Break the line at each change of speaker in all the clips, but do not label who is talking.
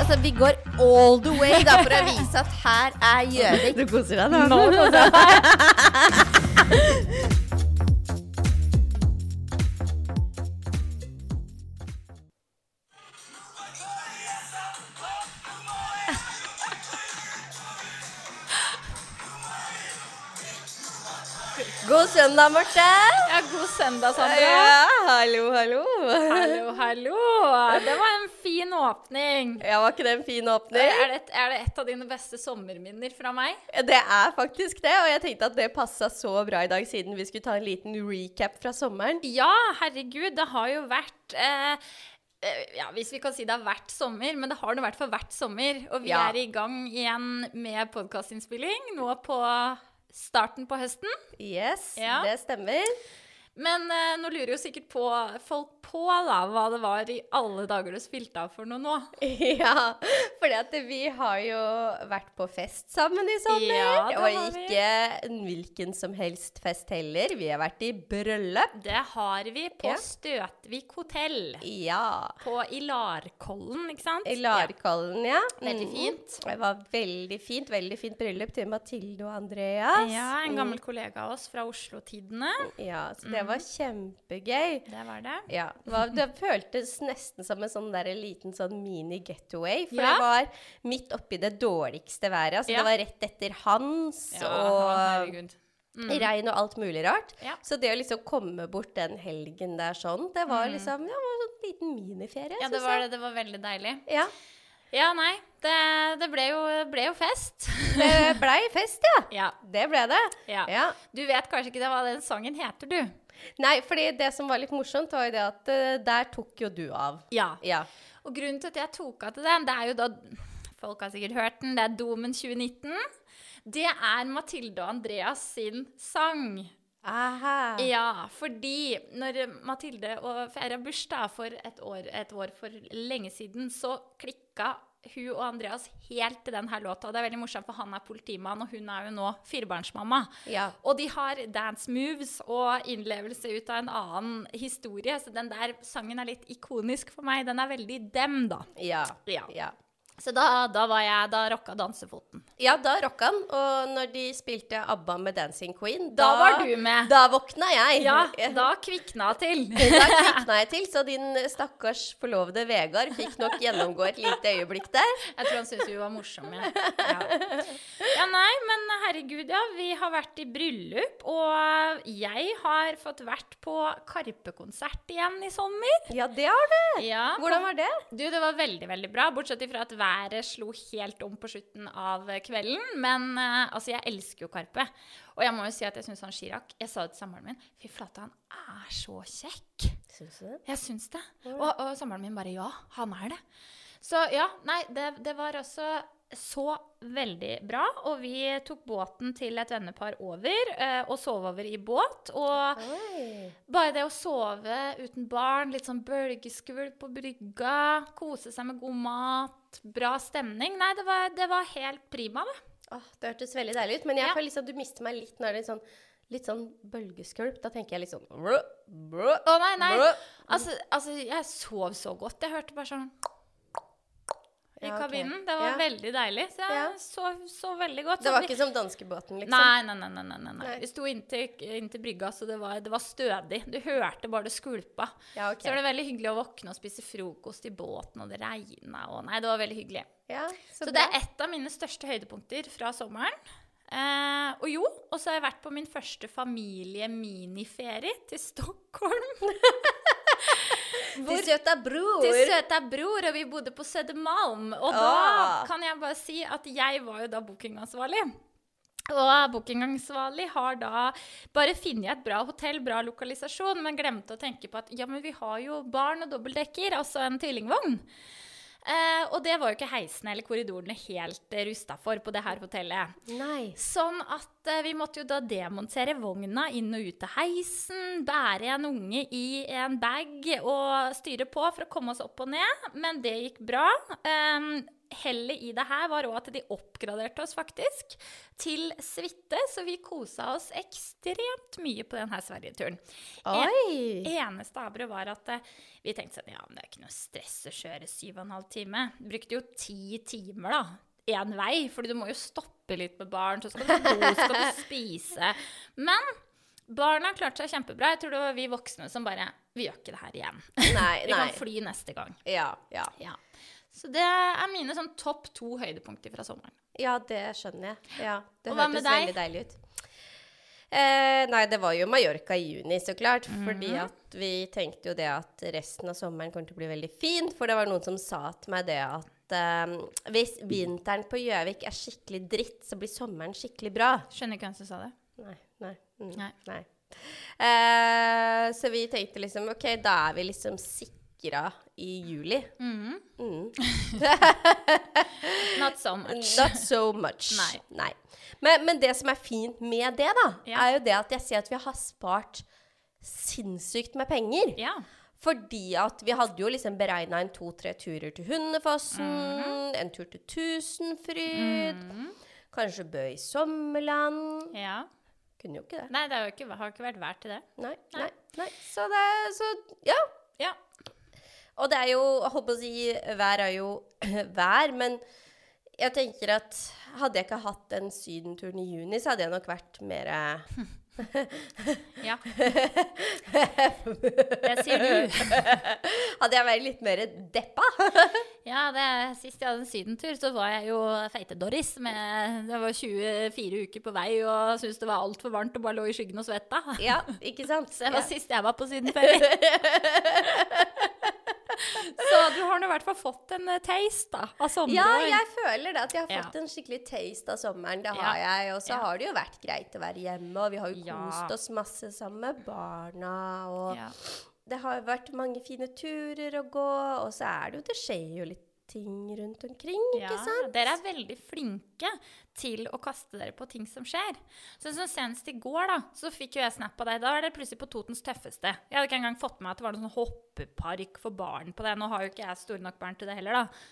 Altså, vi går all the way da, for å vise at her er Gjøvik.
Du koser deg nå.
God søndag, Marte.
Ja, god søndag, Sandra.
Ja, hallo, hallo.
Hallo, hallo. Det var en fin åpning.
Ja, var ikke det en fin åpning?
Er det, et, er det et av dine beste sommerminner fra meg?
Det er faktisk det, og jeg tenkte at det passa så bra i dag, siden vi skulle ta en liten recap fra sommeren.
Ja, herregud, det har jo vært eh, eh, ja, Hvis vi kan si det har vært sommer, men det har nå i hvert fall vært sommer. Og vi
Ja.
er i gang igjen med podkastinnspilling nå på starten på høsten.
Yes,
Ja.
det stemmer.
Men eh, nå lurer jo sikkert på folk på da, hva det var i alle dager du spilte av for noe nå.
Ja, for vi har jo vært på fest sammen i sommer.
Ja, det
og
har vi.
ikke en hvilken som helst fest heller. Vi har vært i bryllup.
Det har vi på
Ja.
Støtvik hotell.
Ja.
På i Larkollen, ikke sant?
I Larkollen, ja.
Veldig
Mm.
fint.
Det var veldig fint. Veldig fint bryllup til Mathilde og Andreas.
Ja, en Mm. gammel kollega av oss fra Oslo-tidene.
Ja, så det var kjempegøy.
Det var det.
Ja, det, var, det føltes nesten som en sånn der liten sånn mini-getaway. For
Ja.
det var midt oppi det dårligste været. Altså,
Ja.
Det var rett etter Hans
Ja,
og
herregud. Mm.
regn og alt mulig rart.
Ja.
Så det å liksom komme bort den helgen der sånn, det var liksom ja, det var en sånn liten miniferie.
Mm. Ja, det
synes
var
jeg.
det. Det var veldig deilig.
Ja,
Ja, nei. Det, det ble, jo, ble jo fest.
Det blei fest, ja.
ja,
Det ble det.
ja.
Ja.
Du vet kanskje ikke det, hva den sangen heter, du?
Nei, fordi det som var litt morsomt, var jo det at eh, der tok jo du av.
Ja.
Ja.
Og grunnen til at jeg tok av til den, det er jo da Folk har sikkert hørt den. Det er Domen 2019. Det er Mathilde og Andreas sin sang.
Aha.
Ja, fordi når Mathilde og feira bursdag for et år, et år for lenge siden, så klikka hun og Andreas helt til den her låta. Og det er veldig morsomt, for han er politimann, og hun er jo nå firebarnsmamma.
Ja.
Og de har dance moves og innlevelse ut av en annen historie, så den der sangen er litt ikonisk for meg. Den er veldig dem, da.
Ja.
Ja.
ja.
Så da, da var jeg Da rocka dansefoten.
Ja, da rocka han. Og når de spilte ABBA med Dancing Queen,
Da var du med.
Da våkna jeg.
Ja, da kvikna til.
Da kvikna jeg til, så din stakkars forlovede Vegard fikk nok gjennomgå et lite øyeblikk der.
Jeg tror han syntes vi var morsomme. Ja. ja, nei, men herregud, ja. Vi har vært i bryllup, og jeg har fått vært på Karpe-konsert igjen i sommer.
Ja, det har du.
Ja.
Hvordan var det?
Du, det var veldig, veldig bra, bortsett fra at været slo helt om på slutten av kvelden. Men eh, altså, jeg elsker jo Karpe. Og jeg må jo si at jeg syns han Chirag Jeg sa det til samboeren min. Fy flate, han er så kjekk.
Syns du det?
Jeg syns det. Og, og samboeren min bare ja, han er det. Så ja, nei, det, det var altså så veldig bra. Og vi tok båten til et vennepar over eh, og sov over i båt. Og
Oi.
bare det å sove uten barn, litt sånn bølgeskvulp på brygga, kose seg med god mat, bra stemning Nei, det var, det var helt prima, det.
Åh, det hørtes veldig deilig ut, men jeg
Ja.
føler liksom, du mister meg litt når det er sånn, litt sånn bølgeskvulp. Da tenker jeg litt sånn brå, brå,
Å nei, nei.
brå.
Altså, altså, jeg sov så godt. Jeg hørte bare sånn i
Ja, ok.
kabinen. Det var
Ja.
veldig deilig. Så jeg
Ja.
sov, sov veldig godt.
Det
Så
var
vi-
ikke som danskebåten, liksom.
Sånn Nei, nei, nei. nei, nei, nei.
Nei.
Vi sto inntil, inntil brygga, så det var, det var stødig. Du hørte bare det skvulpa.
Ja, ok.
Så var det veldig hyggelig å våkne og spise frokost i båten, og det regna og Nei, det var veldig hyggelig.
Ja,
Så,
så,
det
bra.
er et av mine største høydepunkter fra sommeren. Eh, og jo, og så har jeg vært på min første familie-miniferie til Stockholm.
Til søta bror.
Til søta bror, og vi bodde på Sødermalm. Og
Ah.
da kan jeg bare si at jeg var jo da bookingansvarlig. Og bookingansvarlig har da bare funnet et bra hotell, bra lokalisasjon, men glemte å tenke på at ja, men vi har jo barn og dobbeltdekker, altså en tvillingvogn. Eh, og det var jo ikke heisene eller korridorene helt eh, rusta for på det her hotellet.
Nei.
Sånn at at eh, vi måtte jo da demontere vogna inn og ut av heisen, bære en unge i en bag og styre på for å komme oss opp og ned, men det gikk bra. Um, Hellet i det her var òg at de oppgraderte oss faktisk til suite, så vi kosa oss ekstremt mye på denne sverigeturen. En-
Oi!
eneste aberet var at eh, vi tenkte sånn, ja, men det er ikke noe stress å kjøre syv og en halv time. Brukte jo ti timer da, en vei, fordi du må jo stoppe litt med barn, så skal du bo, skal du spise. Men barna klarte seg kjempebra. Jeg tror det var vi voksne som bare, vi gjør ikke det her igjen.
Nei,
Vi
nei.
kan fly neste gang.
Ja, ja.
Ja. Så det er mine sånn topp to høydepunkter fra sommeren.
ja, det skjønner jeg. Ja, det
Og hva med
hørtes
deg?
veldig deilig ut. Eh, nei, det var jo Mallorca i juni, så klart.
Mhm.
Fordi at vi tenkte jo det at resten av sommeren kommer til å bli veldig fin. For det var noen som sa til meg det at eh, hvis vinteren på Gjøvik er skikkelig dritt, så blir sommeren skikkelig bra.
Skjønner ikke hvem som sa det.
Nei. Nei. Mm,
Nei.
nei. Eh, så vi tenkte liksom OK, da er vi liksom sikra i juli.
Mhm.
Mm.
Not so much.
Not so much.
Nei.
Men, men det som er fint med det, da,
Ja.
er jo det at jeg ser at vi har spart sinnssykt med penger.
Ja.
Fordi at vi hadde jo liksom beregna en to-tre turer til Hundefossen,
Mhm.
en tur til Tusenfryd, kanskje Bø i sommerland.
ja.
Kunne jo ikke det.
Nei, det har jo ikke, har ikke vært verdt til det.
Nei,
Nei.
nei, nei. Så det Så ja.
Ja.
Og det er jo Jeg holdt på å si vær er jo vær, men jeg tenker at hadde jeg ikke hatt den sydenturen i juni, så hadde jeg nok vært mer eh,
Ja. Det sier du.
Hadde jeg vært litt mer deppa.
Ja, det, sist jeg hadde en sydentur, så var jeg jo feite-Doris. med- Jeg var 24 uker på vei og syntes det var altfor varmt og bare lå i skyggen og svetta.
Ja, ikke sant?
Så det var
Ja.
sist jeg var på sydenferie. Så du har nå i hvert fall fått en eh, taste da, av sommeren.
Ja, jeg føler det at jeg har
Ja.
fått en skikkelig taste av sommeren. Det
Ja.
har jeg. Og så
Ja.
har det jo vært greit å være hjemme, og vi har jo
Ja.
kost oss masse sammen med barna. Og
Ja.
det har jo vært mange fine turer å gå, og så er det jo Det skjer jo litt ting rundt omkring, ikke sant?
Dere er veldig flinke til å kaste dere på ting som skjer. Så som Senest i går da, så fikk jo jeg snap av deg. Da var dere plutselig på Totens tøffeste. Jeg hadde ikke engang fått med meg at det var noen sånn hoppepark for barn på det. Nå har jo ikke jeg store nok barn til det heller, da.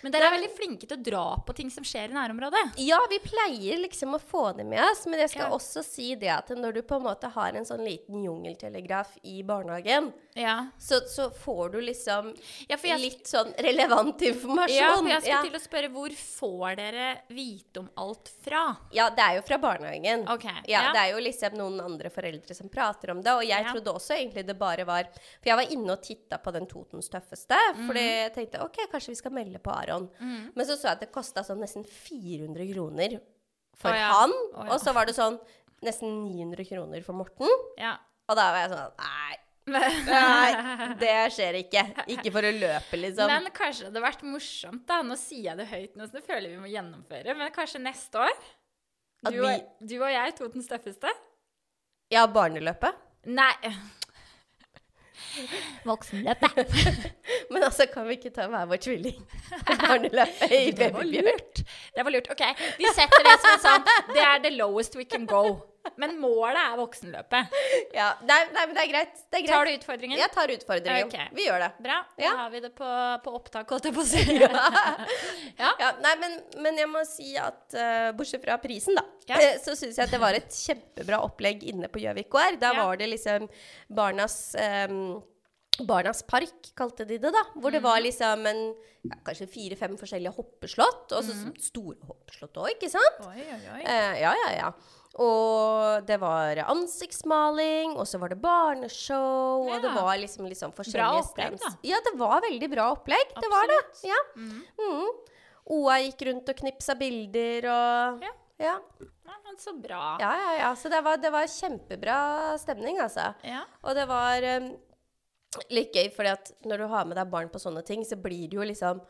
Men dere er veldig flinke til å dra på ting som skjer i nærområdet.
Ja, vi pleier liksom å få det med oss, men jeg skal
Ja.
også si det at når du på en måte har en sånn liten jungeltelegraf i barnehagen,
Ja,
så, så får du liksom
ja for jeg,
litt sånn relevant informasjon.
ja, for jeg skulle
ja.
til å spørre hvor får dere vite om alt fra?
Ja, det er jo fra barnehagen.
Ok,
Ja,
ja.
Det er jo liksom noen andre foreldre som prater om det. Og jeg
Ja.
trodde også egentlig det bare var For jeg var inne og titta på den Totens tøffeste.
Mhm.
Fordi jeg tenkte ok, kanskje vi skal melde på Aron.
Mm,
Men så så jeg at det kosta sånn nesten 400 kroner for
Å ja.
han.
Å ja.
Og så var det sånn nesten 900 kroner for Morten.
Ja.
Og da var jeg sånn Nei, nei det skjer ikke. Ikke for å løpe, liksom.
Men kanskje det hadde vært morsomt, da. Nå sier jeg det høyt, nå, så det føler jeg vi må gjennomføre. Men kanskje neste år?
At
Du og, du og jeg, Totens tøffeste?
ja, barneløpet.
Nei. Voksenløpet.
Men altså, kan vi ikke ta hver vår tvilling på barneløpet i
Det var
babybjørn?
lurt. Det var lurt. OK, vi setter det som en sånn Det er the lowest we can go. Men målet er voksenløpet.
Ja, nei, nei, men det er greit. Det er greit.
Tar du utfordringen?
Jeg tar utfordringen.
Ok.
Vi gjør det.
Bra. Da
Ja.
har vi det på, på opptak, holdt jeg på å si. Ja.
Ja, nei, men, men jeg må si at eh, bortsett fra prisen, da,
Ja.
eh, så syns jeg at det var et kjempebra opplegg inne på Gjøvik KR. Da
Ja.
var det liksom barnas em, Barnas park, kalte de det, da. Hvor det
Mhm.
var liksom en, ja, kanskje fire-fem forskjellige hoppeslott. Og så store hoppeslott òg, ikke sant?
Oi, oi, Mhm. oi.
Eh, ja, ja, ja. Og det var ansiktsmaling, og så var det barneshow, og det
Ja.
var liksom, liksom forskjellige
Bra opplegg,
stands.
da.
Ja, det var veldig bra opplegg. Det var det. Ja. Mm. Oa gikk rundt og knipsa bilder og
Ja.
ja,
Nei, men så bra.
ja. ja, ja. Så det var, det var kjempebra stemning, altså.
Ja.
Og det var um, litt gøy, fordi at når du har med deg barn på sånne ting, så blir det jo liksom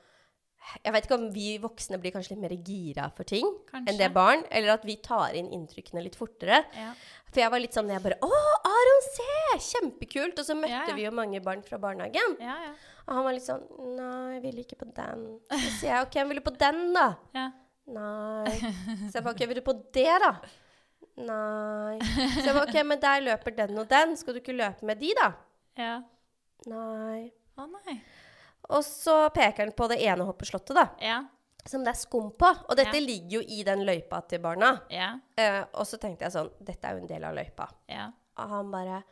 Jeg vet ikke om vi voksne blir kanskje litt mer gira for ting
Kanskje.
enn det barn, eller at vi tar inn inntrykkene litt fortere.
Ja.
For jeg var litt sånn jeg bare Å, Aron, se! Kjempekult! Og så møtte
Ja, ja.
vi jo mange barn fra barnehagen.
Ja, ja.
Og han var litt sånn Nei, jeg ville ikke på den. Så sier jeg OK, jeg ville på den, da.
ja.
Nei. Så jeg bare OK, vil du på det, da? Nei. Så jeg var, ok, men der løper den og den. Skal du ikke løpe med de, da?
Ja.
Nei.
Å nei.
Og så peker han på det ene hoppeslottet, da.
Ja.
Som det er skum på. Og dette
Ja.
ligger jo i den løypa til barna.
Ja.
Eh, og så tenkte jeg sånn Dette er jo en del av løypa.
Ja.
Og han bare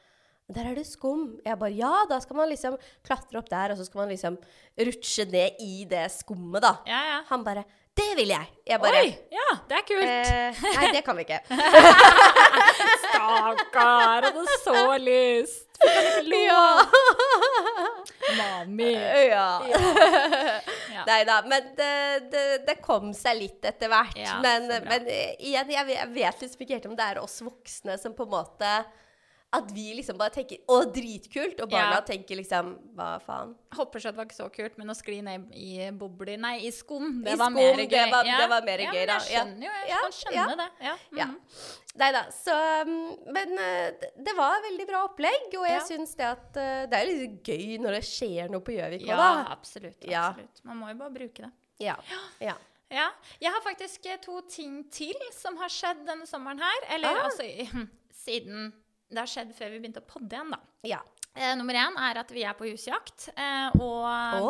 Der er det skum. Jeg bare Ja, da skal man liksom klatre opp der, og så skal man liksom rutsje ned i det skummet, da.
Ja, ja.
Han bare Det vil jeg! Jeg bare
Oi! Ja, det er kult.
eh, Nei, det kan vi ikke. Eh,
Stakkar, hadde så lyst. Fikk han ikke lov? Mami.
Ja.
Ja.
Nei da, men det, det, det kom seg litt etter hvert.
Ja,
men
så bra.
men eh, igjen, jeg, jeg vet liksom ikke helt om det er oss voksne som på en måte At vi liksom bare tenker 'å, dritkult', og barna
Ja.
tenker liksom 'hva faen'?
Hopperskjøt var ikke så kult, men å skli ned i bobler Nei, i skum, det
I
var
skum,
mer gøy.
det var- det var mer
ja,
gøy,
men
da. Ja.
Jeg skjønner jo, jeg
Ja,
kan skjønne det. Ja.
Ja.
mhm.
Nei da. Så um, Men eh, det- det var et veldig bra opplegg, og jeg
Ja.
syns det at eh, Det er jo litt gøy når det skjer noe på Gjøvik òg,
ja
da.
absolutt.
Ja.
absolutt. Man må jo bare bruke det.
Ja. ja.
Ja. Jeg har faktisk eh, to ting til som har skjedd denne sommeren her. Eller
Ah.
altså i- siden det har skjedd før vi begynte å podde igjen, da.
ja.
Eh, nummer én er at vi er på husjakt. Eh, og,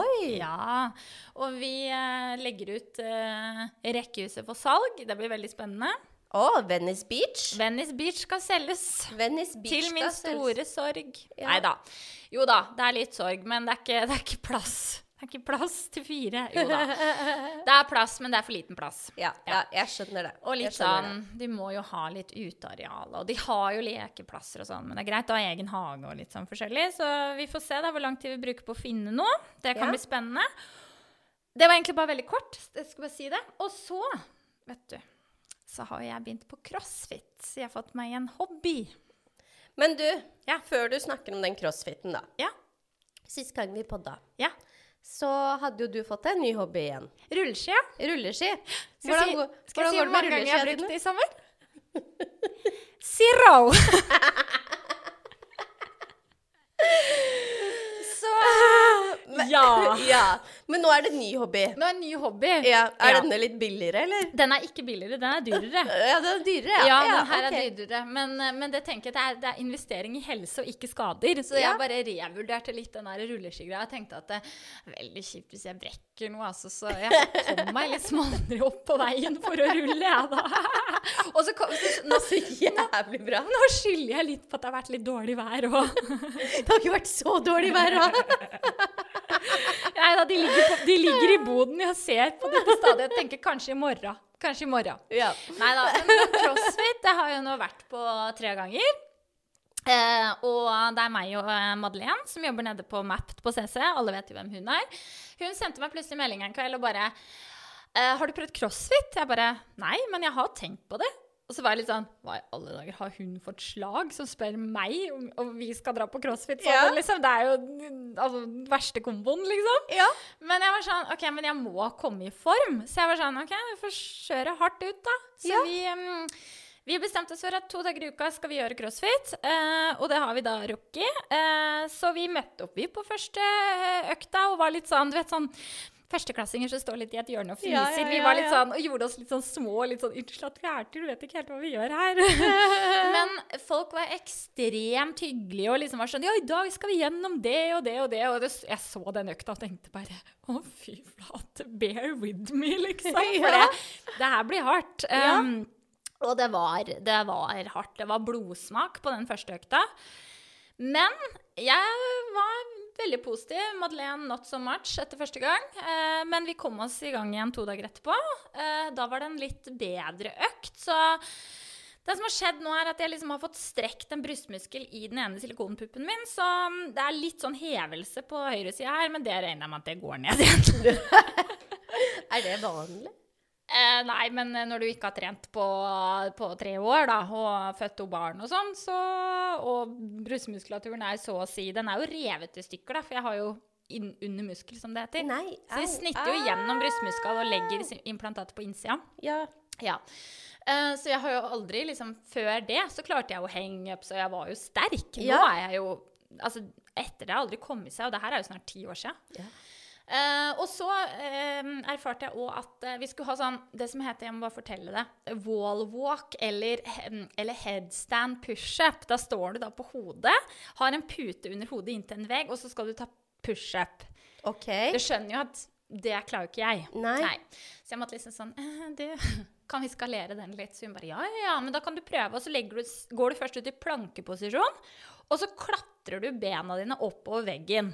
Oi!
Ja, og vi eh, legger ut eh, rekkehuset for salg. Det blir veldig spennende.
Å, Venice Beach.
Venice Beach skal selges.
Venice Beach
Til min
skal selges.
store sorg.
Ja.
Nei da. Jo da, det er litt sorg, men det er ikke, det er ikke plass. Det er ikke plass til fire. Jo da. Det er plass, men det er for liten plass.
Ja, ja, jeg skjønner det.
Og
Jeg
litt
skjønner det.
sånn, de må jo ha litt uteareal, og de har jo lekeplasser og sånn, men det er greit å ha egen hage og litt sånn forskjellig, så vi får se da hvor lang tid vi bruker på å finne noe. Det kan
Ja.
bli spennende. Det var egentlig bare veldig kort, s- jeg skal bare si det. Og så, vet du, så har jo jeg begynt på crossfit, så jeg har fått meg en hobby.
Men du,
Ja.
før du snakker om den crossfiten, da.
Ja,
Sist gang vi podda,
ja.
så hadde jo du fått deg en ny hobby igjen.
Rulleski,
Rulleski.
Skal jeg si,
går-
skal jeg si hvor
hvordan
mange
går det med
ganger jeg har
rulleskia
brukt
dine?
det i sommer? Zero!
Men,
Ja.
ja. Men nå er det en ny hobby.
Nå er en ny hobby.
Ja, er
Ja.
denne litt billigere, eller?
Den er ikke billigere, den er dyrere.
Ja, den er dyrere.
Ja, den her
ok.
er dyrere. Men, eh, men det tenker jeg det er, det er investering i helse og ikke skader. Så
Ja.
jeg bare revurderte litt den der rulleskigreia. Jeg tenkte at det er veldig kjipt hvis jeg brekker noe, altså. Så jeg kom meg litt smalere opp på veien for å rulle, jeg da. Og så kom, så, nå,
Så jævlig bra.
nå skylder jeg litt på at det har vært litt dårlig vær òg.
Det har ikke vært så dårlig vær da.
Nei da, de ligger, på, de ligger i boden. Jeg ser på dette stadig. Jeg tenker kanskje i morgen. Kanskje i morgen.
Ja.
Nei da. Men crossfit det har jeg nå vært på tre ganger. Eh, og det er meg og eh, Madeleine som jobber nede på Mapt på CC. Alle vet jo hvem hun er. Hun sendte meg plutselig melding en kveld og bare eh, 'Har du prøvd crossfit?' Jeg bare 'Nei, men jeg har tenkt på det'. Og så var jeg litt sånn Hva i alle dager, har hun fått slag som spør meg om, om vi skal dra på crossfit sammen?
Ja.
Liksom, det er jo altså, den verste komboen, liksom.
Ja.
Men jeg var sånn, ok, men jeg må komme i form. Så jeg var sånn, ok, vi får kjøre hardt ut da. Så
Ja.
vi, mm, vi bestemte oss for at to dager i uka skal vi gjøre crossfit. eh, og det har vi da rukket. Eh, så vi møtte opp vi på første eh, økta og var litt sånn, du vet sånn, Førsteklassinger som står litt i et hjørne og fniser.
Ja, ja,
vi
ja,
var litt
ja.
sånn, og gjorde oss litt sånn små litt sånn Unnskyld at vi er til, du vet ikke helt hva vi gjør her. Men folk var ekstremt hyggelige og liksom var sånn Ja, i dag skal vi gjennom det og det og det. Og det, jeg så den økta og tenkte bare Å, fy flate. Bear with me, liksom. For
Ja.
det, det her blir hardt.
Ja.
Um, Og det var, det var hardt. Det var blodsmak på den første økta. Men jeg var veldig positiv. Madeleine not so much etter første gang. Eh, men vi kom oss i gang igjen to dager etterpå. Eh, da var det en litt bedre økt, så det som har skjedd nå er at jeg liksom har fått strekt en brystmuskel i den ene silikonpuppen min, så mm, det er litt sånn hevelse på høyresida her, men det regner jeg med at det går ned igjen.
Er det vanlig?
Eh, nei, men når du ikke har trent på, på tre år, da, og født to barn og sånn, så Og brystmuskulaturen er så å si Den er jo revet i stykker, da, for jeg har jo inn, under muskel, som det heter.
Nei.
Så de
au,
snitter jo
au.
gjennom brystmuskelen og legger sim- implantatet på innsida.
Ja.
Ja. Eh, så jeg har jo aldri liksom Før det så klarte jeg jo hangups, og jeg var jo sterk. Nå
Ja.
er jeg jo Altså, etter det har jeg aldri kommet seg, og det her er jo snart ti år siden.
Ja.
Eh, og så eh, erfarte jeg òg at eh, vi skulle ha sånn Det som heter, jeg må bare fortelle det, wall walk eller, he- eller headstand pushup. Da står du da på hodet, har en pute under hodet inntil en vegg, og så skal du ta pushup.
OK.
Du skjønner jo at det klarer jo ikke jeg.
Nei.
Så jeg måtte liksom sånn «Eh, du, Kan vi skalere den litt? Så hun bare ja, ja, ja, men da kan du prøve. Og så legger du, går du først ut i plankeposisjon, og så klatrer du bena dine oppover veggen.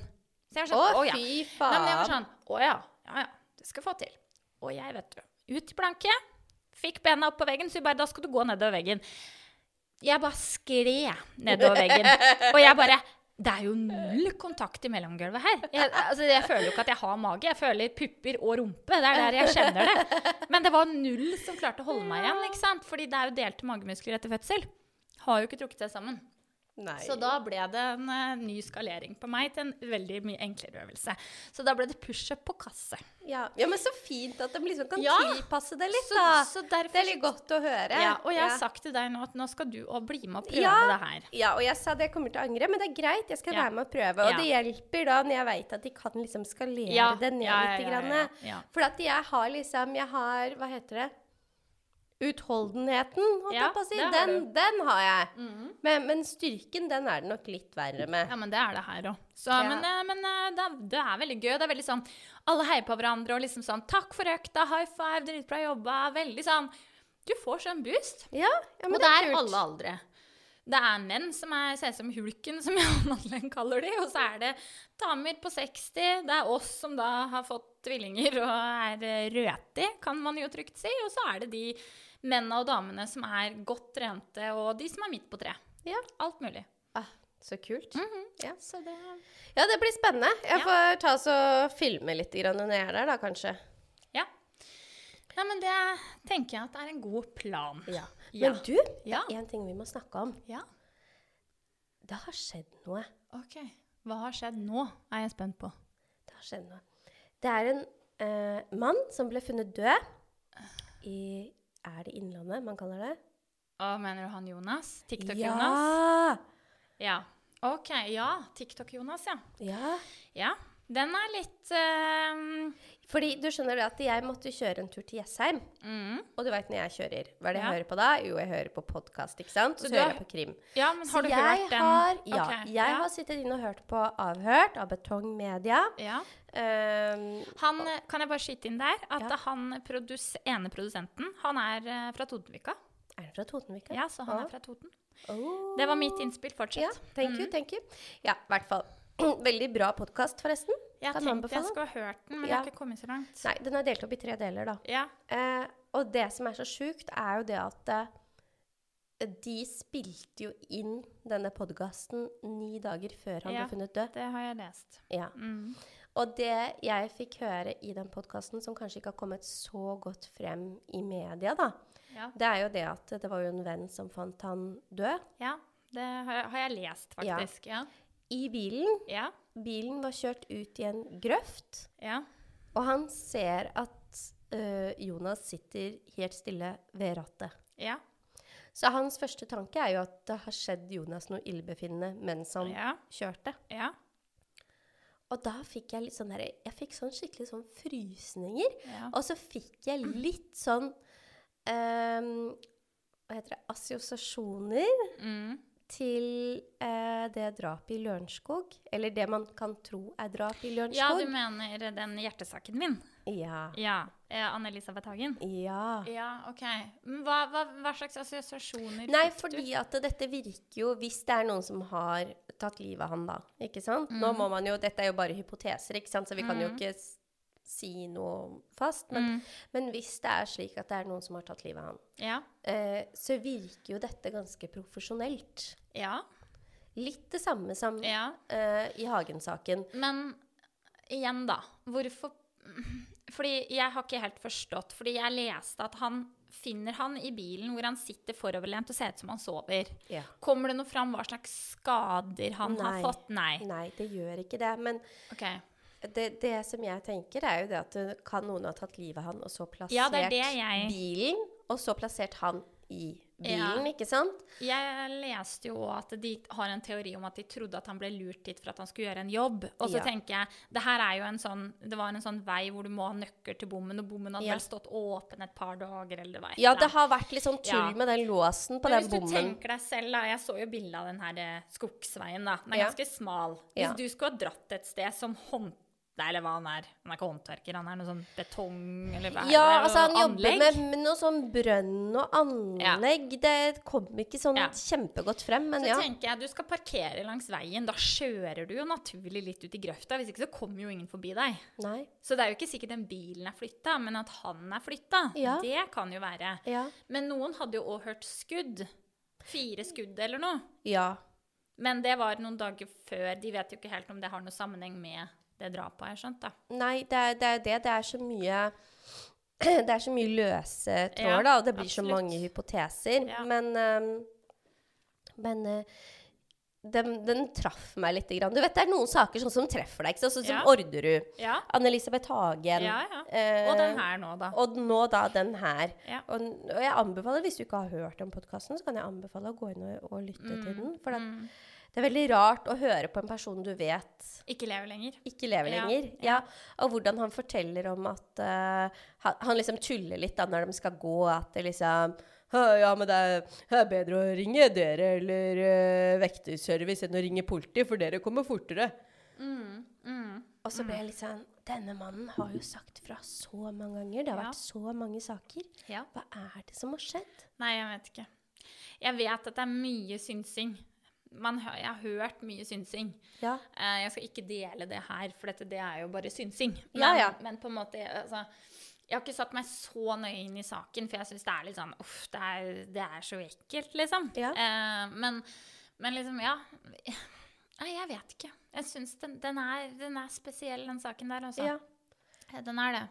Så jeg var
Å,
sånn, «Å, ja».
fy
Nei, men jeg var
faen.
sånn Å ja, ja, ja. Det skal jeg få til. Og jeg, vet du. Ut i planke. Fikk bena opp på veggen, så hun bare Da skal du gå nedover veggen. Jeg bare skred nedover veggen. Og jeg bare Det er jo null kontakt i mellomgulvet her. Jeg, altså, jeg føler jo ikke at jeg har mage. Jeg føler pupper og rumpe. Det er der jeg kjenner det. Men det var null som klarte å holde meg igjen, ikke sant? Fordi det er jo delte magemuskler etter fødsel. Har jo ikke trukket seg sammen.
Nei.
Så da ble det en eh, ny skalering på meg til en veldig mye enklere øvelse. Så da ble det pushup på kasse.
ja. ja, men så fint at de liksom kan
Ja.
tilpasse det litt,
Så-
da.
så derfor-
det er litt godt å høre.
Ja, og jeg har
Ja.
sagt til deg nå at nå skal du òg bli med og prøve
Ja.
det her.
Ja, og jeg sa det jeg kommer til å angre, men det er greit, jeg skal
Ja.
være med og prøve. Og
Ja.
det hjelper da når jeg veit at de kan liksom skalere
Ja,
det ned
ja, ja,
litt.
ja,
Grann.
ja, ja.
For at jeg har liksom Jeg har Hva heter det? Utholdenheten, holdt jeg
Ja,
på å si.
det har
Den,
du. Mhm.
den har jeg. men, men styrken, den er det nok litt verre med.
Ja, men det er det her òg.
Ja.
Men, eh, men eh, det, er, det er veldig gøy. Det er veldig sånn Alle heier på hverandre og liksom sånn 'Takk for økta', 'high five', 'dritbra jobba'. Veldig sånn Du får sånn boost.
Ja, ja men
og det er
kult.
alle aldre. Det er menn som er, ser ut som hulken, som Jan Madeleine kaller de, og så er det damer på 60. Det er oss som da har fått tvillinger og er eh, røti, kan man jo trygt si. Og så er det de mennene og damene som er godt trente, og de som er midt på treet.
Ja.
Alt mulig.
Ah, så kult. ja.
Mhm. Så det
ja, det blir spennende. Jeg
Ja.
får ta oss og filme litt grann når jeg er der, da, kanskje.
Ja. Nei, men det tenker jeg at er en god plan.
Ja.
Ja.
Men du, det
Ja.
er én ting vi må snakke om.
Ja.
Det har skjedd noe.
Ok. Hva har skjedd nå, er jeg spent på.
Det har skjedd noe. Det er en eh, mann som ble funnet død i Er det Innlandet man kaller det?
Å, mener du han Jonas? TikTok-Jonas?
Ja!
Ja. Ok, ja. TikTok-Jonas, ja.
ja!
Ja, den er litt eh,
Fordi du skjønner det at jeg måtte kjøre en tur til Jessheim.
mm.
Og du veit når jeg kjører, hva er det jeg
Ja.
hører på da? Jo, jeg hører på podkast, ikke sant?
Så
Og så
du har-
hører jeg på krim.
Ja, men har
så
du
jeg
hørt den?
Har, ja.
Ok,
Jeg
ja.
har sittet inne og hørt på Avhørt av Betong Media.
ja.
Ehm,
Han, eh, kan jeg bare skyte inn der at
Ja.
han produs, ene produsenten, han er eh, fra Totenvika.
er han fra Totenvika?
Ja, så han
Ja.
er fra Toten.
Oh.
Det var Mm. mitt innspill.
Ja,
Fortsett.
thank you, thank you. Ja, i hvert fall. Veldig bra podkast, forresten.
Jeg
Kan
tenkte jeg
anbefale.
skulle ha hørt den, men jeg
Ja.
har ikke kommet så langt.
Nei, den er delt opp i tre deler, da.
Ja.
Eh, og det som er så sjukt, er jo det at eh, de spilte jo inn denne podkasten ni dager før han
Ja.
ble funnet død.
Det har jeg lest.
Ja.
Mm.
Og det jeg fikk høre i den podkasten, som kanskje ikke har kommet så godt frem i media, da,
Ja.
det er jo det at det var jo en venn som fant han død
ja. Det har jeg, har jeg lest,
Ja.
faktisk. Ja.
i bilen.
Ja.
Bilen var kjørt ut i en grøft,
ja.
og han ser at eh, Jonas sitter helt stille ved rattet.
ja.
Så hans første tanke er jo at det har skjedd Jonas noe illebefinnende mens han
Ja.
kjørte.
ja.
Og da fikk jeg litt sånn derre Jeg fikk sånn skikkelig sånn frysninger.
ja.
Og så fikk jeg litt sånn ehm, Hva heter det Assosiasjoner
Mm.
til eh, det drapet i Lørenskog. Eller det man kan tro er drap i
ja, du
Lørenskog.
mener den hjertesaken min?
Ja.
Ja. Eh, Anne-Elisabeth Hagen?
ja.
Ja, OK. Men Hva, hva, hva slags assosiasjoner
Nei,
fikk du?
fordi at dette virker jo Hvis det er noen som har tatt livet av han, da. Ikke sant? Nå må man jo Dette er jo bare hypoteser, ikke sant, så vi kan jo ikke s- si noe fast. Men, men hvis det er slik at det er noen som har tatt livet av han,
Ja.
eh, så virker jo dette ganske profesjonelt.
ja.
Litt det samme som
Ja.
eh, i Hagen-saken.
Men igjen, da. Hvorfor Fordi jeg har ikke helt forstått. Fordi jeg leste at han finner han i bilen hvor han sitter foroverlent og ser ut som han sover.
Ja.
Kommer det noe fram hva slags skader han har
Nei.
fått? Nei.
Nei, det gjør ikke det. Men
Ok.
det, det som jeg tenker, er jo det eh, at det kan noen ha tatt livet av han, og så plassert
Ja, det er det jeg-
bilen, og så plassert han i
Ja.
bilen, ikke sant?
Jeg leste jo også at de har en teori om at de trodde at han ble lurt hit for at han skulle gjøre en jobb. Og så
Ja.
tenker jeg det her er jo en sånn, det var en sånn vei hvor du må ha nøkkel til bommen, og bommen hadde
Ja.
vel stått åpen et par dager, eller du vet
Ja,
jeg.
det har vært litt sånn tull
Ja.
med den låsen på
Men
den
hvis du
bommen.
tenker deg selv, da, jeg så jo bilde av den her eh, skogsveien, da. Den er
Ja.
ganske smal. Hvis
Ja.
du skulle ha dratt et sted som hånd... Nei, eller hva han er. Han er ikke håndverker, han er noe sånn betong eller hva er det,
Ja,
eller
altså han
noe
jobber
anlegg.
med, med noe sånn brønn og anlegg. Det kom ikke sånn
Ja.
kjempegodt frem, men
Så
ja.
tenker jeg du skal parkere langs veien. Da skjører du jo naturlig litt ut i grøfta. Hvis ikke så kommer jo ingen forbi deg.
Nei.
Så det er jo ikke sikkert den bilen er flytta, men at han er flytta,
Ja.
det kan jo være.
Ja.
Men noen hadde jo òg hørt skudd. Fire skudd eller noe.
ja.
Men det var noen dager før. De vet jo ikke helt om det har noe sammenheng med det drapet, har jeg skjønt, da.
Nei, det er det. Er det. det er så mye det er så mye løse tråder,
Ja,
da, og det blir så
absolutt.
mange hypoteser.
Ja.
Men, ehm, men eh, den, den traff meg lite grann. Du vet, Det er noen saker sånn som treffer deg. ikke sant? Sånn som
Ja.
Orderud.
Ja.
Anne-Elisabeth Hagen.
ja, ja.
eh,
Og den her nå, da.
Og nå da den her.
Ja.
Og, og jeg anbefaler, hvis du ikke har hørt den podkasten, så kan jeg anbefale å gå inn og, og lytte til den. For at
Mm.
det er veldig rart å høre på en person du vet
Ikke lever lenger.
ikke lever
Ja,
lenger.
ja.
Ja. Og hvordan han forteller om at eh, han, han liksom tuller litt da når de skal gå, at det liksom «Hø, ja, men det er, det er bedre å ringe dere eller eh, vekterservice enn å ringe politi, for dere kommer fortere.
Mm. Mm.
Og så ble jeg litt sånn Denne mannen har jo sagt fra så mange ganger. Det har
Ja.
vært så mange saker.
Ja.
Hva er det som har skjedd?
Nei, jeg vet ikke. Jeg vet at det er mye synsing. Man, hø- jeg har hørt mye synsing.
Ja.
Eh, Jeg skal ikke dele det her, for dette det er jo bare synsing. Men,
Ja, ja.
men på en måte altså, Jeg har ikke satt meg så nøye inn i saken, for jeg syns det er litt sånn Uff, det er, det er så ekkelt, liksom.
Ja.
Eh, men, men liksom, ja. Nei, jeg vet ikke. Jeg syns den, den, er, den er spesiell, den saken der, altså.
Ja.
Ja, Den er det.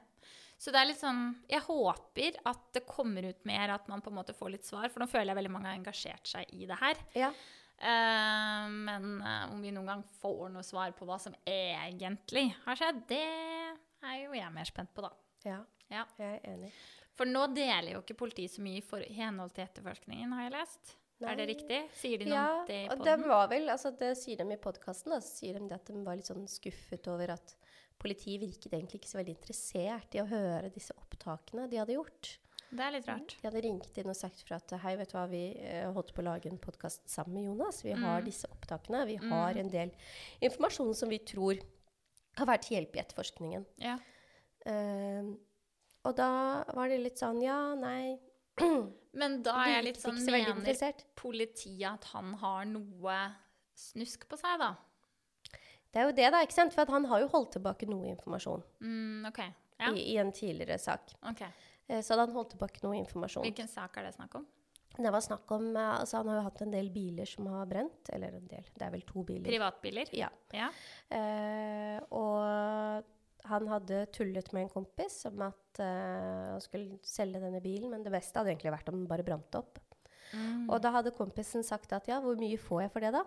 Så det er litt sånn Jeg håper at det kommer ut mer, at man på en måte får litt svar, for nå føler jeg veldig mange har engasjert seg i det her.
ja.
Eh, men eh, om vi noen gang får noe svar på hva som egentlig har skjedd, det er jo jeg mer spent på, da.
Ja,
Ja.
jeg er enig.
For nå deler jo ikke politiet så mye i for- i henhold til etterforskningen, har jeg lest. Er det
Nei.
riktig? Sier de noe
Ja,
om det i
og de
podden?
var vel, altså det sier de i podkasten, da, så sier de det at de var litt sånn skuffet over at politiet virket egentlig ikke så veldig interessert i å høre disse opptakene de hadde gjort.
Det er litt rart.
De hadde ringt inn og sagt fra at hei, vet du hva, vi eh, holdt på å lage en podkast sammen med Jonas. Vi har
Mm.
disse opptakene. Vi har en del informasjon som vi tror har vært til hjelp i etterforskningen.
Ja.
Eh, og da var det litt sånn ja, nei
Men da er
virket
jeg litt sånn
ikke så veldig
Mener
interessert.
politiet at han har noe snusk på seg, da?
Det er jo det, da. ikke sant? For at han har jo holdt tilbake noe informasjon
Mm, OK. Ja.
i, i en tidligere sak.
ok.
Eh, Så hadde han holdt tilbake noe informasjon.
Hvilken sak er det snakk om?
Det var snakk om, eh, altså Han har jo hatt en del biler som har brent. Eller en del, det er vel to biler.
Privatbiler?
Ja.
Ja.
Eh, og han hadde tullet med en kompis om at eh, han skulle selge denne bilen, men det beste hadde egentlig vært om den bare brant opp.
Mm.
Og da hadde kompisen sagt at ja, hvor mye får jeg for det, da?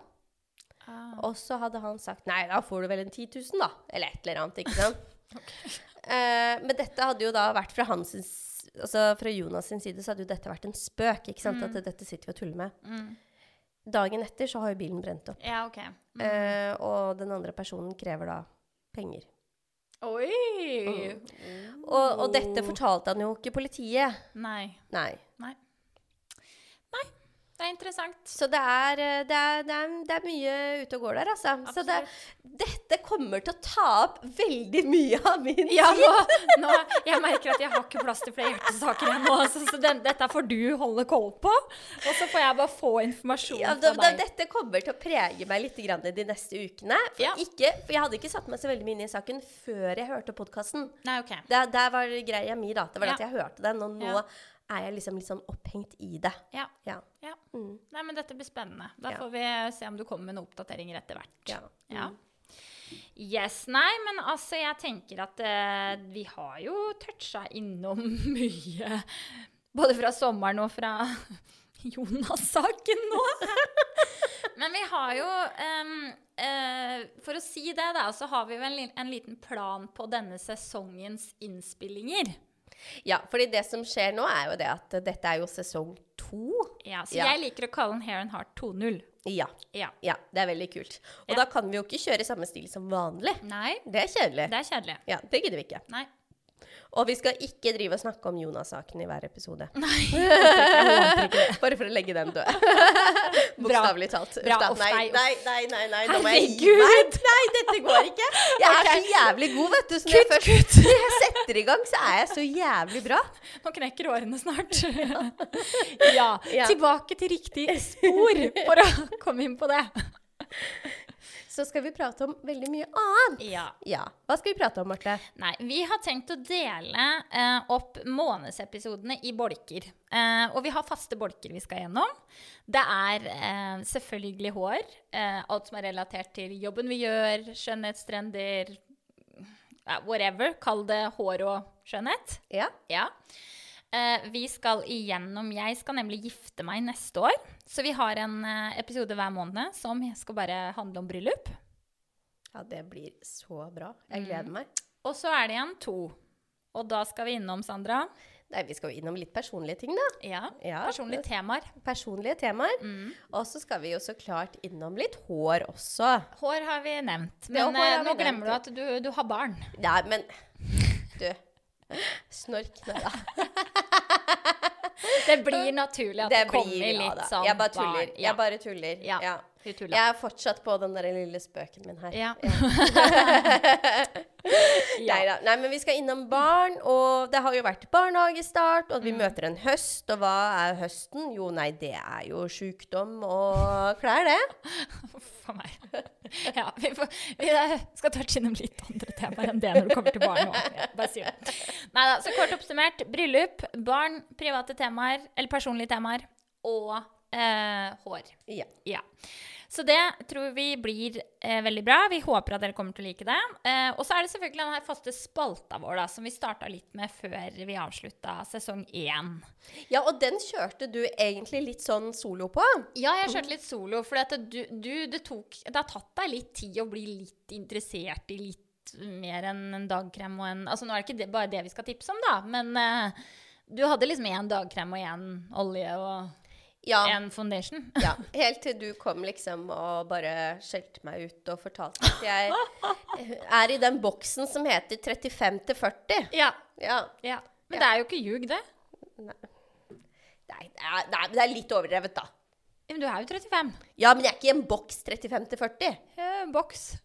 Ah.
Og så hadde han sagt nei, da får du vel en 10 000, da. Eller et eller annet, ikke sant. Eh, men dette hadde jo da vært fra hans Altså fra Jonas sin side så hadde jo dette vært en spøk, ikke sant. At dette sitter vi og tuller med.
Mm.
Dagen etter så har jo bilen brent opp.
Ja, OK. Mm.
Eh, og den andre personen krever da penger.
Oi!
Og, og dette fortalte han jo ikke politiet.
Nei.
Nei.
Det er interessant.
Så det er, eh, det er, det er, det er mye ute og går der, altså. Så det, dette kommer til å ta opp veldig mye av min
Ja, nå, nå, jeg merker at jeg har ikke plass til flere hjertesaker ennå, så, så den, dette får du holde koll på. Og så får jeg bare få informasjon
Ja, da,
fra
da,
deg.
dette kommer til å prege meg litt grann de neste ukene. For,
Ja.
ikke, for jeg hadde ikke satt meg så veldig mye inn i saken før jeg hørte podkasten.
Nei, OK.
Der, der var greia mi, da. Det var
Ja.
at jeg hørte den, og nå
Ja.
er jeg liksom litt sånn opphengt i det.
Ja.
Ja.
ja.
Mm.
Nei, men dette blir spennende. Da
Ja.
får vi se om du kommer med noen oppdateringer etter hvert.
Ja. Mm.
Ja. Yes, nei, men altså jeg tenker at eh, vi har jo toucha innom mye. Både fra sommeren og fra Jonas-saken nå. men vi har jo em, eh, For å si det, da, så har vi jo en, li- en liten plan på denne sesongens innspillinger.
Ja, fordi det som skjer nå, er jo det at dette er jo sesong to.
Ja, så
Ja.
jeg liker å kalle den Hair and Heart 2.0.
Ja.
Ja.
ja. Det er veldig kult. Og
Ja.
da kan vi jo ikke kjøre samme stil som vanlig.
Nei,
Det er kjedelig.
det er kjedelig.
Ja, det gidder vi ikke.
Nei.
Og vi skal ikke drive og snakke om Jonas-saken i hver episode. Bare for å legge den død. Bokstavelig talt.
Bra,
Da-
uff,
nei,
nei, uff.
nei, nei, nei, nei. Da må jeg gi
Herregud!
meg. Nei, dette går ikke. Jeg er så jævlig god, vet du. Så når jeg først når jeg setter i gang, så er jeg så jævlig bra.
Nå knekker årene snart. ja.
Ja.
Tilbake til riktig spor for å komme inn på det.
Så skal vi prate om veldig mye annet.
Ja.
Ja. Hva skal vi prate om, Marte?
Nei, vi har tenkt å dele eh, opp månedsepisodene i bolker. Eh, og vi har faste bolker vi skal gjennom. Det er eh, selvfølgelig hår. Eh, alt som er relatert til jobben vi gjør, skjønnhetstrender ja, Whatever. Kall det hår og skjønnhet.
Ja.
Ja. Eh, vi skal igjennom Jeg skal nemlig gifte meg neste år. Så vi har en eh, episode hver måned som skal bare handle om bryllup.
Ja, det blir så bra. Jeg gleder meg.
Og så er det igjen to. Og da skal vi innom, Sandra.
Nei, vi skal jo innom litt personlige ting, da.
Ja.
Ja,
Personlige temaer.
Personlige temaer. Og så skal vi jo så klart innom litt hår også.
Hår har vi nevnt.
Ja,
Men
hår har
eh,
vi
nå
nevnt,
glemmer du
ja.
at du, du har barn.
Nei, men Du. Snork nå, da.
Det blir naturlig at det, kommer
ja,
litt
da.
sånn
Jeg bare tuller.
barn. Ja.
Jeg bare tuller.
Ja.
Ja.
Du tuller.
Jeg er fortsatt på den der lille spøken min her.
Ja.
Nei da. Nei, men vi skal innom barn, og det har jo vært barnehagestart, og vi
Mm.
møter en høst, og hva er høsten? Jo, nei, det er jo sjukdom og klær, det.
For meg. Ja, vi, får, vi eh, skal touche innom litt andre temaer enn det når det kommer til barn. og- ja, Bare si det. Neida, så kort oppsummert. Bryllup, barn, private temaer, eller personlige temaer, og eh, hår.
Ja.
Ja. Så det tror vi blir eh, veldig bra. Vi håper at dere kommer til å like det. Eh, og så er det selvfølgelig den her faste spalta vår da, som vi starta litt med før vi avslutta sesong én.
ja, og den kjørte du egentlig litt sånn solo på.
Ja, jeg
Sånn.
kjørte litt solo, for at du, du, det, tok, det har tatt deg litt tid å bli litt interessert i litt mer enn en dagkrem og en Altså nå er det ikke det, bare det vi skal tipse om, da, men eh, du hadde liksom én dagkrem og én olje og
Ja.
én foundation.
Ja, Helt til du kom liksom og bare skjelte meg ut og fortalte at jeg er i den boksen som heter 35 til 40.
Ja.
Ja.
ja.
Ja.
Men det er jo ikke ljug, det.
Nei, det er- nei, det er litt overdrevet, da.
Ja, Men du er jo 35.
Ja, men jeg er ikke i en boks 35 til 40.
Eh, boks.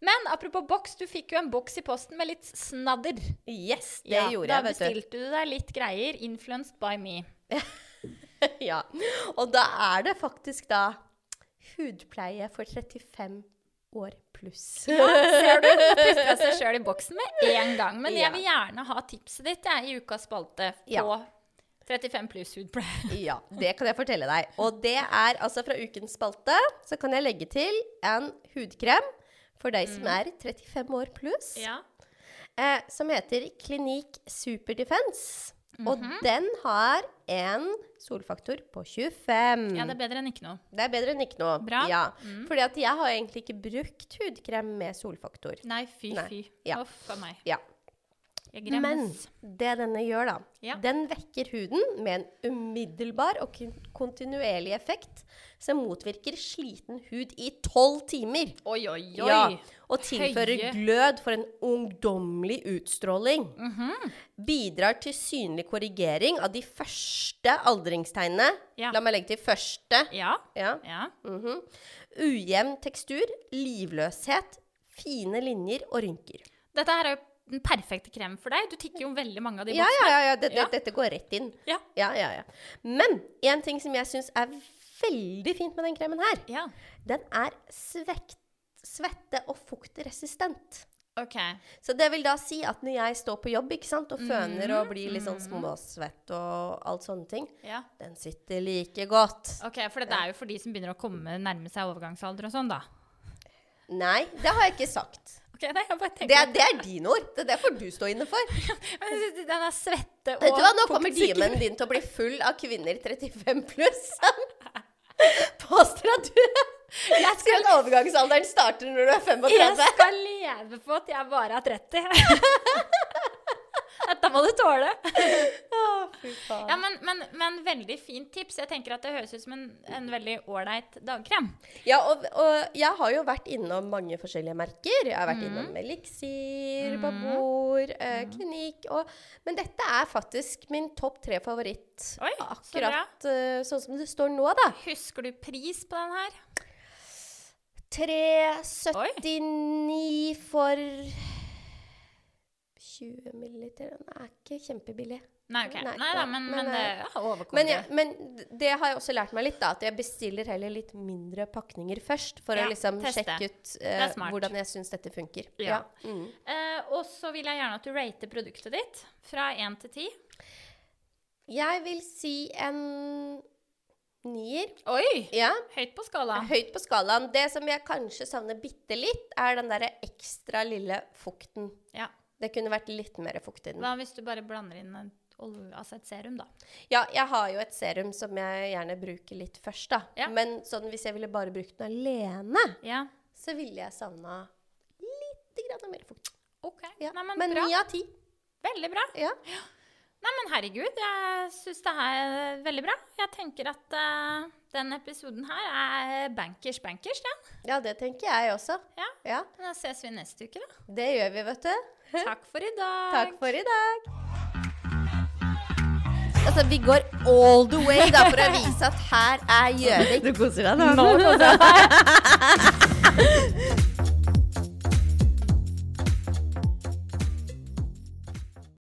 Men apropos boks, du fikk jo en boks i posten med litt snadder.
Yes, det
Ja,
gjorde jeg,
da
vet du.
bestilte du deg litt greier, influenced by me.
Ja. Og da er det faktisk da hudpleie for 35 år pluss.
Ser du? Pusta seg sjøl i boksen med en gang. Men
Ja.
jeg vil gjerne ha tipset ditt jeg, i ukas spalte på
Ja.
35 pluss hudpleie.
Ja, det kan jeg fortelle deg. Og det er altså fra ukens spalte, så kan jeg legge til en hudkrem for deg som er 35 år pluss,
Ja.
eh, som heter Klinik Super Defense. Og den har en solfaktor på 25.
ja, det
det...
er bedre enn ikke noe.
er bedre enn ikke noe.
Bra. Mm.
Ja. Fordi at jeg har egentlig ikke brukt hudkrem med solfaktor.
Nei, fy,
Nei.
fy.
Ja.
Uff a meg.
Ja.
Jeg
Men
gremmes.
det denne gjør, da,
Ja.
den vekker huden med en umiddelbar og kon- kontinuerlig effekt som motvirker sliten hud i tolv timer.
Oi, oi, oi.
Ja, og tilfører
Høye.
glød for en ungdommelig utstråling.
Mhm.
Bidrar til synlig korrigering av de første aldringstegnene.
Ja.
La meg legge til første.
Ja.
Ja.
ja.
mhm. Ujevn tekstur, livløshet, fine linjer og rynker.
Dette her er jo den perfekte krem for deg. Du tikker jo veldig mange av de
Ja, ja, ja. ja. Det, det,
Ja.
Dette går rett inn.
Ja.
Ja, ja, ja. Men en ting som jeg syns er veldig fint med den kremen her,
ja.
den er svekt, svette- og fuktresistent.
OK.
Så det vil da si at når jeg står på jobb ikke sant, og føner
Mhm,
og blir litt sånn småsvett og alt sånne ting,
Ja.
den sitter like godt.
Ok, For det er jo for de som begynner å komme nærme seg overgangsalder og sånn, da.
Nei, det har jeg ikke sagt.
Ok, nei, jeg bare
Det
tenker
er, det er dine ord. Det, det får du stå inne for.
Men jeg synes Den er svette og
Vet du hva, nå kommer
fuktsikker.
demenen din til å bli full av kvinner 35 pluss som påstår at du Jeg skal at overgangsalderen starter når du er
Jeg
35.
skal leve på at jeg bare er 30. Dette må du tåle.
Fy faen.
Ja, men, men, men veldig fint tips. Jeg tenker at det høres ut som en, en veldig ålreit dagkrem.
Ja, og, og jeg har jo vært innom mange forskjellige merker. Jeg har
Mhm.
vært innom Elixir, Babor, eh, Klinikk og Men dette er faktisk min topp tre favoritt.
Oi, så
Akkurat eh, sånn som det står nå, da.
Husker du pris på den her?
3,79 for 20 milliliter. Den er ikke kjempebillig.
Nei, ok.
Nei,
Nei, da,
nei,
men,
nei,
men eh, det
nei.
ja, overkom
Men,
det.
jeg, men det har jeg også lært meg litt, da. At jeg bestiller heller litt mindre pakninger først. For
Ja,
å liksom
teste.
sjekke ut
er
eh,
smart.
hvordan jeg syns dette funker.
Ja.
Mm.
Eh, og så vil jeg gjerne at du rater produktet ditt fra 1 til 10.
Jeg vil si en nier.
Oi!
Ja.
Høyt på skalaen.
Høyt på skalaen. Det som jeg kanskje savner bitte litt, er den derre ekstra lille fukten.
Ja.
Det kunne vært litt mer fukt i den.
Hva hvis du bare blander inn en olje, altså et serum, da?
Ja, jeg har jo et serum som jeg gjerne bruker litt først, da.
Ja.
Men sånn, hvis jeg ville bare brukt den alene,
Ja.
så ville jeg savna lite grann mer fukt.
OK.
Ja.
Nei, men,
men
bra.
ni av ti.
Veldig bra.
Ja.
Nei, men herregud, jeg syns det her er veldig bra. Jeg tenker at eh, den episoden her er bankers bankers, den.
ja, det tenker jeg også.
Ja.
Ja,
Da ses vi neste uke, da.
Det gjør vi, vet du.
Takk for i dag.
Takk for i dag. Altså, vi går all the way da, for å vise at her er Gjøvik.
Du koser deg
Nå,